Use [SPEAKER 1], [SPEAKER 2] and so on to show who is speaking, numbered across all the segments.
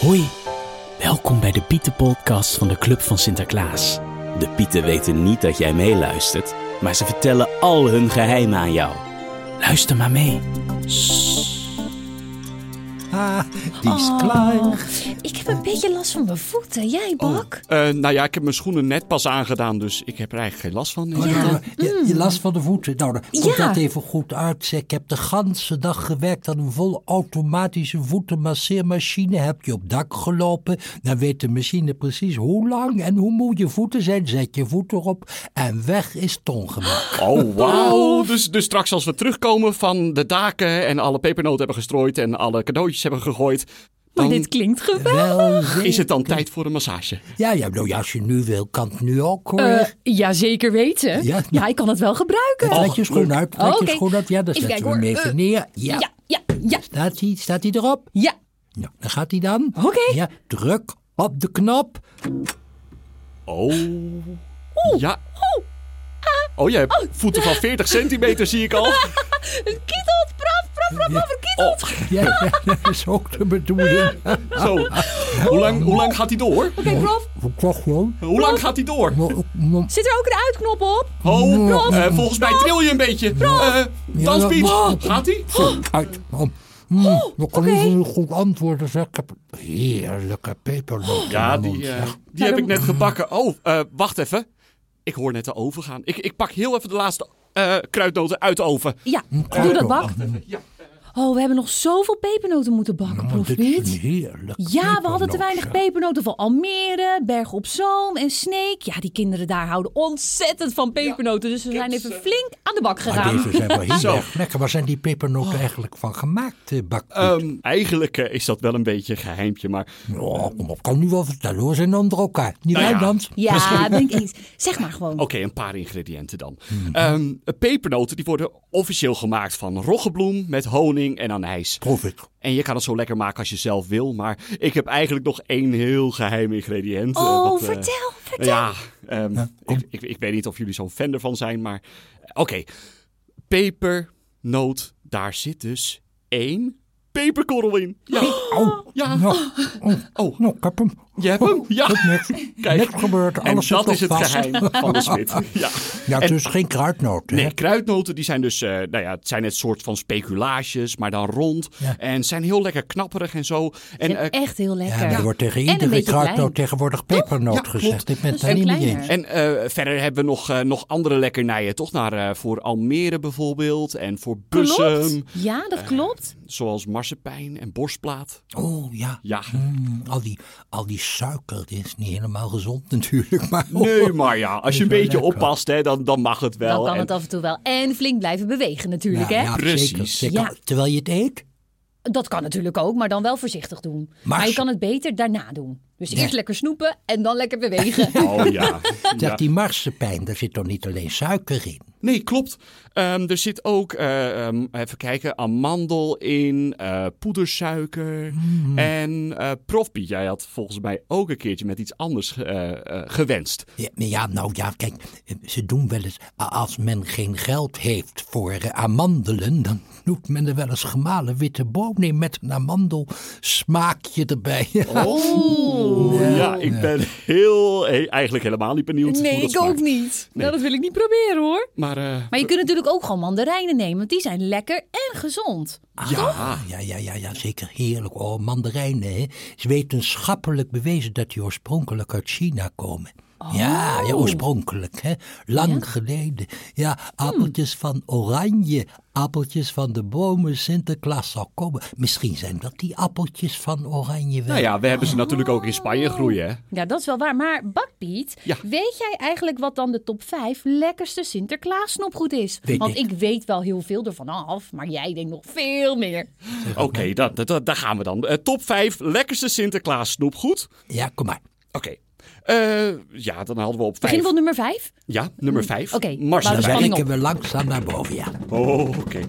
[SPEAKER 1] Hoi, welkom bij de Pietenpodcast van de Club van Sinterklaas. De Pieten weten niet dat jij meeluistert, maar ze vertellen al hun geheimen aan jou. Luister maar mee.
[SPEAKER 2] Ah, die is
[SPEAKER 3] Oh.
[SPEAKER 2] klaar. Oh,
[SPEAKER 3] Ik heb een beetje last van mijn voeten. Jij, Bak?
[SPEAKER 4] Eh, nou ja, ik heb mijn schoenen net pas aangedaan, dus ik heb er eigenlijk geen last van.
[SPEAKER 2] Oh,
[SPEAKER 3] Ja. Mm.
[SPEAKER 2] nou, je, je last van de voeten. Nou, dan komt
[SPEAKER 3] Ja.
[SPEAKER 2] dat even goed uit. zeg. Ik heb de ganse dag gewerkt aan een volautomatische voetenmasseermachine. Heb je op dak gelopen, dan weet de machine precies hoe lang en hoe moe je voeten zijn. Zet je voet erop en weg is tongemaakt.
[SPEAKER 4] Oh, wauw. Dus, dus straks als we terugkomen van de daken en alle pepernoten hebben gestrooid en alle cadeautjes hebben gegooid,
[SPEAKER 3] Maar
[SPEAKER 4] dan
[SPEAKER 3] dit klinkt geweldig.
[SPEAKER 2] Wel zeker.
[SPEAKER 4] is het dan tijd voor een massage.
[SPEAKER 2] Ja, ja, nou ja, als je nu wil, kan het nu ook hoor.
[SPEAKER 3] Eh, ja, zeker weten.
[SPEAKER 2] Ja. nou,
[SPEAKER 3] Ja, ik kan het wel gebruiken.
[SPEAKER 2] Trek je schoen uit, trek
[SPEAKER 3] Oh,
[SPEAKER 2] je
[SPEAKER 3] oké.
[SPEAKER 2] schoen uit. Ja, dan
[SPEAKER 3] Even
[SPEAKER 2] zetten we
[SPEAKER 3] kijken,
[SPEAKER 2] hem
[SPEAKER 3] hoor.
[SPEAKER 2] even
[SPEAKER 3] Eh,
[SPEAKER 2] neer. Ja.
[SPEAKER 3] Ja, ja, ja,
[SPEAKER 2] Staat hij staat hij erop?
[SPEAKER 3] ja.
[SPEAKER 2] Nou, dan gaat hij dan.
[SPEAKER 3] Oké.
[SPEAKER 2] Ja, druk op de knop.
[SPEAKER 4] Oh. Ja. Oh, je hebt voeten van 40 centimeter, zie ik al.
[SPEAKER 3] Kietelt, praf, praf, praf, praf, kietelt.
[SPEAKER 2] Ja, ja, dat is ook de bedoeling.
[SPEAKER 4] Zo. Hoe lang, hoe lang gaat die door?
[SPEAKER 3] Oké, Prof,
[SPEAKER 2] Wat toch gewoon?
[SPEAKER 4] Hoe lang gaat die door?
[SPEAKER 3] zit er ook een uitknop op?
[SPEAKER 4] Oh,
[SPEAKER 3] Rolf,
[SPEAKER 4] eh, volgens mij tril je een beetje. Eh dansbeat. Oh, Gaat die?
[SPEAKER 2] Uit. Oh, mm, we kunnen
[SPEAKER 3] oké.
[SPEAKER 2] niet goed antwoorden. Zeg. Ik heb heerlijke pepernoten.
[SPEAKER 4] Ja,
[SPEAKER 2] in mijn
[SPEAKER 4] die,
[SPEAKER 2] mond,
[SPEAKER 4] eh,
[SPEAKER 2] zeg.
[SPEAKER 4] die heb ik net gebakken. Oh, eh, wacht even. Ik hoor net de oven gaan. Ik, ik pak heel even de laatste eh, kruidnoten uit de oven.
[SPEAKER 3] Ja, doe dat, Bak. Oh, we hebben nog zoveel pepernoten moeten bakken,
[SPEAKER 2] Want
[SPEAKER 3] proef
[SPEAKER 2] dit is
[SPEAKER 3] niet?
[SPEAKER 2] heerlijk.
[SPEAKER 3] Ja, we hadden te weinig
[SPEAKER 2] pepernoten,
[SPEAKER 3] pepernoten van Almere, Berg op Zoom en Sneek. Ja, die kinderen daar houden ontzettend van pepernoten. Dus we zijn even flink aan Oh. de bak
[SPEAKER 2] zeg. Maar
[SPEAKER 3] gegaan.
[SPEAKER 2] deze zijn wel heel
[SPEAKER 4] Zo.
[SPEAKER 2] erg lekker. Waar zijn die pepernoten eigenlijk van gemaakt, eh, Bak?
[SPEAKER 4] Ehm, eigenlijk eh, is dat wel een beetje een geheimpje, maar...
[SPEAKER 2] oh, kom op, kan nu wel vertellen. hoor. Ze zijn onder elkaar. Niet
[SPEAKER 4] Nou
[SPEAKER 2] wij
[SPEAKER 4] ja.
[SPEAKER 2] dan?
[SPEAKER 3] Ja, denk eens. Zeg maar gewoon.
[SPEAKER 4] Oké, een paar ingrediënten dan. Ehm, pepernoten die worden officieel gemaakt van roggebloem met honing en anijs.
[SPEAKER 2] Proef ik.
[SPEAKER 4] En je kan het zo lekker maken als je zelf wil, maar ik heb eigenlijk nog één heel geheim ingrediënt. eh,
[SPEAKER 3] Oh,
[SPEAKER 4] wat, eh,
[SPEAKER 3] vertel, vertel.
[SPEAKER 4] Ja, ehm, ik, ik, ik weet niet of jullie zo'n fan ervan zijn, maar eh, oké. Pepernoot, daar zit dus één peperkorrel in. Ja,
[SPEAKER 2] Oh,
[SPEAKER 4] ja.
[SPEAKER 2] nou, oh,
[SPEAKER 4] Oh.
[SPEAKER 2] nou, ik heb hem.
[SPEAKER 4] je hebt hem? Ja.
[SPEAKER 2] Niks, niks gebeurd.
[SPEAKER 4] en
[SPEAKER 2] Alles zit
[SPEAKER 4] dat
[SPEAKER 2] nog
[SPEAKER 4] is het
[SPEAKER 2] vast.
[SPEAKER 4] geheim van de smid. Ja.
[SPEAKER 2] Ja,
[SPEAKER 4] En-
[SPEAKER 2] dus geen kruidnoten. hè?
[SPEAKER 4] Nee, kruidnoten die zijn dus, eh, nou ja, het zijn het soort van speculaasjes, maar dan rond.
[SPEAKER 2] Ja.
[SPEAKER 4] En zijn heel lekker knapperig en zo. En
[SPEAKER 3] Ja,
[SPEAKER 4] eh,
[SPEAKER 3] echt heel lekker.
[SPEAKER 2] Ja, maar er wordt tegen
[SPEAKER 3] En een
[SPEAKER 2] iedere
[SPEAKER 3] beetje
[SPEAKER 2] kruidnoot
[SPEAKER 3] klein.
[SPEAKER 2] tegenwoordig pepernoot
[SPEAKER 4] Ja,
[SPEAKER 2] gezegd.
[SPEAKER 4] klopt.
[SPEAKER 2] Ik ben het
[SPEAKER 3] Dat is
[SPEAKER 2] daar
[SPEAKER 3] veel
[SPEAKER 2] niet mee
[SPEAKER 3] kleiner.
[SPEAKER 2] eens.
[SPEAKER 4] En eh, verder hebben we nog, eh, nog andere lekkernijen, toch? Naar, eh, voor Almere bijvoorbeeld en voor Bussum.
[SPEAKER 3] Klopt. Ja, dat klopt.
[SPEAKER 4] Zoals marsepein en borstplaat.
[SPEAKER 2] Oh ja,
[SPEAKER 4] Ja.
[SPEAKER 2] Mm, al, die, al die suiker, dit is niet helemaal gezond natuurlijk. Maar
[SPEAKER 4] Nee, maar ja, als je een
[SPEAKER 2] Is wel
[SPEAKER 4] beetje
[SPEAKER 2] lekker.
[SPEAKER 4] oppast, hè, dan, dan mag het wel.
[SPEAKER 3] Dan kan
[SPEAKER 4] En-
[SPEAKER 3] het af en toe wel. En flink blijven bewegen
[SPEAKER 2] Ja,
[SPEAKER 3] natuurlijk, hè?
[SPEAKER 2] ja,
[SPEAKER 4] Precies.
[SPEAKER 2] zeker, zeker.
[SPEAKER 3] Ja.
[SPEAKER 2] Terwijl je het eet.
[SPEAKER 3] Dat kan natuurlijk ook, maar dan wel voorzichtig doen. Maar, je
[SPEAKER 2] ze-
[SPEAKER 3] kan het beter daarna doen. Dus
[SPEAKER 2] Ja.
[SPEAKER 3] eerst lekker snoepen en dan lekker bewegen.
[SPEAKER 4] Oh ja.
[SPEAKER 2] Zeg,
[SPEAKER 4] Ja.
[SPEAKER 2] die marsepein, daar zit toch niet alleen suiker in?
[SPEAKER 4] Nee, klopt. Ehm, er zit ook, eh, ehm, even kijken, amandel in, eh, poedersuiker. En eh Prof Piet, jij had volgens mij ook een keertje met iets anders eh, eh, gewenst.
[SPEAKER 2] Ja, maar ja, nou ja, kijk, ze doen wel eens, a- als men geen geld heeft voor eh, amandelen, dan doet men er wel eens gemalen witte boom in met een amandelsmaakje erbij.
[SPEAKER 4] Oh, ja, ik ben heel, he- eigenlijk helemaal niet benieuwd.
[SPEAKER 3] nee,
[SPEAKER 4] hoe dat
[SPEAKER 3] ik ook
[SPEAKER 4] smaakt.
[SPEAKER 3] niet.
[SPEAKER 4] Nee.
[SPEAKER 3] Nou, dat wil ik niet proberen hoor.
[SPEAKER 4] Maar, eh,
[SPEAKER 3] Maar je kunt natuurlijk ook gewoon mandarijnen nemen, want die zijn lekker en gezond.
[SPEAKER 4] ja.
[SPEAKER 2] Ja, ja, ja, ja, zeker heerlijk. Oh, mandarijnen, hè. Is wetenschappelijk bewezen dat die oorspronkelijk uit China komen. Ja, ja, oorspronkelijk, hè. Lang geleden. Ja, appeltjes van oranje, appeltjes van de bomen, Sinterklaas zal komen. Misschien zijn dat die appeltjes van oranje wel.
[SPEAKER 4] Nou ja, we hebben ze natuurlijk ook in Spanje groeien, hè?
[SPEAKER 3] Ja, dat is wel waar. Maar Bakpiet,
[SPEAKER 4] Ja.
[SPEAKER 3] weet jij eigenlijk wat dan de top 5 lekkerste Sinterklaas snoepgoed is?
[SPEAKER 2] Weet
[SPEAKER 3] Want
[SPEAKER 2] ik.
[SPEAKER 3] ik weet wel heel veel ervan af, maar jij denkt nog veel meer.
[SPEAKER 4] Oké, dat, dat, dat- daar gaan we dan. Eh, top 5 lekkerste Sinterklaas snoepgoed.
[SPEAKER 2] Ja, kom maar.
[SPEAKER 4] Oké. Eh, ja, dan hadden we op 5.
[SPEAKER 3] Beginnen we op nummer 5?
[SPEAKER 4] Ja, nummer 5.
[SPEAKER 3] Oké,
[SPEAKER 2] Dan
[SPEAKER 3] Nou,
[SPEAKER 4] Marsepein.
[SPEAKER 3] spanning
[SPEAKER 2] werken we langzaam naar boven, ja.
[SPEAKER 4] Oh, oké.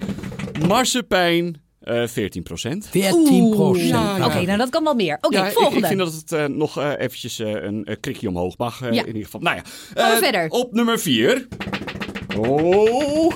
[SPEAKER 4] Marsepein, eh 14 procent.
[SPEAKER 2] 14 procent.
[SPEAKER 4] ja, ja.
[SPEAKER 3] Oké, nou dat kan wel meer. Oké,
[SPEAKER 4] Ja, ik,
[SPEAKER 3] volgende.
[SPEAKER 4] ik vind dat het eh, nog eh, eventjes eh, een eh, krikje omhoog mag. eh,
[SPEAKER 3] Ja.
[SPEAKER 4] In ieder geval. Nou ja.
[SPEAKER 3] Gaan we
[SPEAKER 4] Eh,
[SPEAKER 3] verder.
[SPEAKER 4] Op nummer 4. Oh.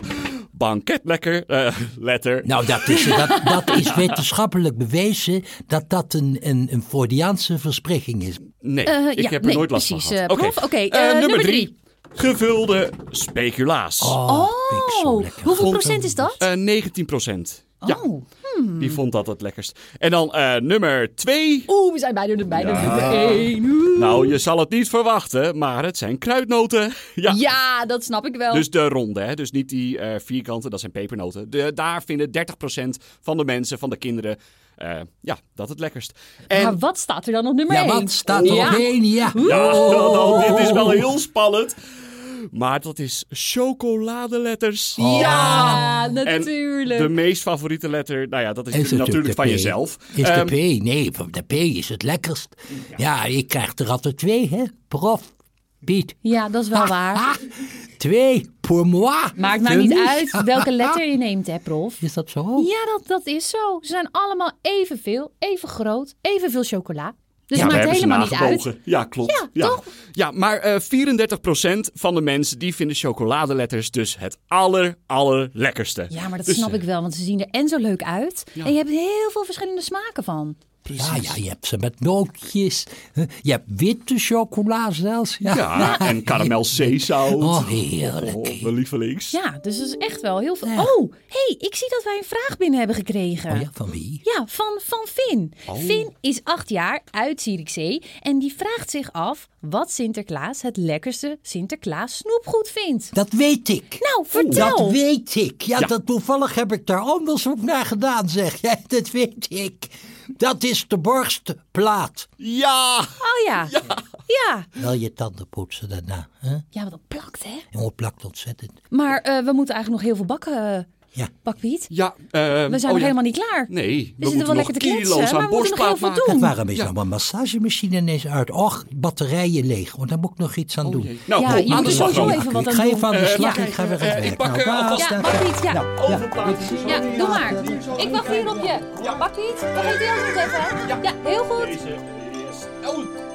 [SPEAKER 4] banket lekker, eh, letter.
[SPEAKER 2] Nou, dat is, dat, dat is wetenschappelijk bewezen dat dat een, een, een Freudiaanse verspreking is.
[SPEAKER 4] Nee,
[SPEAKER 3] Eh,
[SPEAKER 4] ik
[SPEAKER 3] ja,
[SPEAKER 4] heb er
[SPEAKER 3] nee,
[SPEAKER 4] nooit last
[SPEAKER 3] precies,
[SPEAKER 4] van gehad.
[SPEAKER 3] eh, prof. Oké,
[SPEAKER 4] Eh,
[SPEAKER 3] eh, nummer drie.
[SPEAKER 4] Gevulde speculaas.
[SPEAKER 2] vind ik zo
[SPEAKER 3] Oh,
[SPEAKER 2] lekker.
[SPEAKER 3] hoeveel procent is dat?
[SPEAKER 4] Eh, 19 procent. Ja,
[SPEAKER 3] Oh.
[SPEAKER 2] hmm.
[SPEAKER 4] die vond dat het lekkerst. En dan eh, nummer twee.
[SPEAKER 3] Oeh, we zijn bijna er bijna nummer één. Oeh.
[SPEAKER 4] Nou, je zal het niet verwachten, maar het zijn kruidnoten. Ja.
[SPEAKER 3] Ja, dat snap ik wel.
[SPEAKER 4] Dus de ronde, hè? dus niet die eh, vierkante, dat zijn pepernoten. De, daar vinden 30% van de mensen, van de kinderen, eh, ja, dat het lekkerst. En
[SPEAKER 3] maar wat staat er dan op nummer
[SPEAKER 2] Ja,
[SPEAKER 3] één?
[SPEAKER 2] wat staat er
[SPEAKER 3] Ja.
[SPEAKER 2] op één? Ja.
[SPEAKER 4] Ja,
[SPEAKER 2] Oh.
[SPEAKER 4] nou, dit is wel heel spannend. Maar dat is chocoladeletters.
[SPEAKER 2] Oh.
[SPEAKER 3] Ja,
[SPEAKER 4] En
[SPEAKER 3] natuurlijk.
[SPEAKER 4] de meest favoriete letter, nou ja, dat is,
[SPEAKER 2] Is
[SPEAKER 4] natuurlijk,
[SPEAKER 2] de
[SPEAKER 4] van
[SPEAKER 2] P.
[SPEAKER 4] jezelf.
[SPEAKER 2] Is
[SPEAKER 4] Ehm,
[SPEAKER 2] de P? Nee, van de P is het lekkerst. Ja, je krijgt er altijd twee, hè? Prof, Piet.
[SPEAKER 3] Ja, dat is wel waar.
[SPEAKER 2] Ah, twee, pour moi.
[SPEAKER 3] Maakt mij
[SPEAKER 2] Voor
[SPEAKER 3] niet
[SPEAKER 2] mij.
[SPEAKER 3] uit
[SPEAKER 2] ah,
[SPEAKER 3] welke letter je neemt, hè, prof.
[SPEAKER 2] Is dat zo?
[SPEAKER 3] Ja, dat, dat is zo. Ze zijn allemaal evenveel, even groot, evenveel chocola. Dus
[SPEAKER 4] ja,
[SPEAKER 3] het
[SPEAKER 4] we
[SPEAKER 3] maakt
[SPEAKER 4] hebben ze
[SPEAKER 3] helemaal niet uit.
[SPEAKER 4] nagebogen. Ja, klopt.
[SPEAKER 3] Ja, toch?
[SPEAKER 4] Ja, maar eh 34% van de mensen die vinden chocoladeletters dus het aller, allerlekkerste.
[SPEAKER 3] Ja, maar dat
[SPEAKER 4] Dus,
[SPEAKER 3] snap
[SPEAKER 4] eh,
[SPEAKER 3] ik wel, want ze zien er en zo leuk uit. En je hebt heel veel verschillende smaken van.
[SPEAKER 2] Ja, ja, je hebt ze met nootjes. hè, Je hebt witte chocola zelfs. Ja, Nou,
[SPEAKER 4] Ja, en karamel zeezout.
[SPEAKER 2] Oh, heerlijk.
[SPEAKER 4] Oh, mijn lievelings.
[SPEAKER 3] Ja, dus dat is echt wel heel veel. Oh, hey, ik zie dat wij een vraag binnen hebben gekregen.
[SPEAKER 2] Oh ja, van wie?
[SPEAKER 3] Ja, van, van Finn. Finn is acht jaar uit Zierikzee en die vraagt zich af wat Sinterklaas het lekkerste Sinterklaas snoepgoed vindt.
[SPEAKER 2] Dat weet ik.
[SPEAKER 3] Nou, vertel.
[SPEAKER 2] Dat weet ik. Ja, dat toevallig heb ik daar onderzoek naar gedaan, zeg. Ja, dat weet ik. Dat is de borstplaat.
[SPEAKER 4] Ja!
[SPEAKER 3] Oh ja. Ja. Ja,
[SPEAKER 2] Wel je tanden poetsen daarna. Hè?
[SPEAKER 3] want dat plakt
[SPEAKER 2] En
[SPEAKER 3] hè.
[SPEAKER 2] het plakt ontzettend.
[SPEAKER 3] Maar eh, we moeten eigenlijk nog heel veel bakken, eh,
[SPEAKER 2] Ja.
[SPEAKER 3] bakwiet.
[SPEAKER 4] Ja, ehm,
[SPEAKER 3] We zijn nog
[SPEAKER 4] oh ja.
[SPEAKER 3] helemaal niet klaar.
[SPEAKER 4] Nee,
[SPEAKER 3] we
[SPEAKER 4] we
[SPEAKER 3] zitten
[SPEAKER 4] moeten
[SPEAKER 3] wel
[SPEAKER 4] nog
[SPEAKER 3] lekker te kletsen,
[SPEAKER 4] kilo's
[SPEAKER 3] maar
[SPEAKER 4] aan
[SPEAKER 3] we moeten nog heel
[SPEAKER 4] borstplaat
[SPEAKER 3] veel
[SPEAKER 4] maken.
[SPEAKER 3] doen.
[SPEAKER 2] Dat waren misschien allemaal massagemachine ineens uit. Och, batterijen leeg. Want daar moet ik nog iets aan doen.
[SPEAKER 4] Nou,
[SPEAKER 3] Ja,
[SPEAKER 4] kom,
[SPEAKER 3] je
[SPEAKER 4] aan
[SPEAKER 3] moet
[SPEAKER 4] de
[SPEAKER 3] er
[SPEAKER 4] slag
[SPEAKER 3] sowieso
[SPEAKER 4] dan.
[SPEAKER 3] even wat
[SPEAKER 2] Ik
[SPEAKER 3] aan
[SPEAKER 2] ga
[SPEAKER 3] doen.
[SPEAKER 2] even aan de
[SPEAKER 4] Eh,
[SPEAKER 2] slag.
[SPEAKER 3] ja.
[SPEAKER 2] Ik ga weer aan het
[SPEAKER 4] Eh, ik
[SPEAKER 2] werk.
[SPEAKER 4] pak, eh,
[SPEAKER 2] Nou,
[SPEAKER 4] alvast
[SPEAKER 2] daar
[SPEAKER 3] Ja,
[SPEAKER 2] ga ik.
[SPEAKER 3] bakwiet, ja.
[SPEAKER 2] Nou, ja.
[SPEAKER 3] Ja, doe maar. Ik wacht hier op je. Bakwiet, vergeet die andere even. Ja, heel goed.
[SPEAKER 4] Deze is- Oh,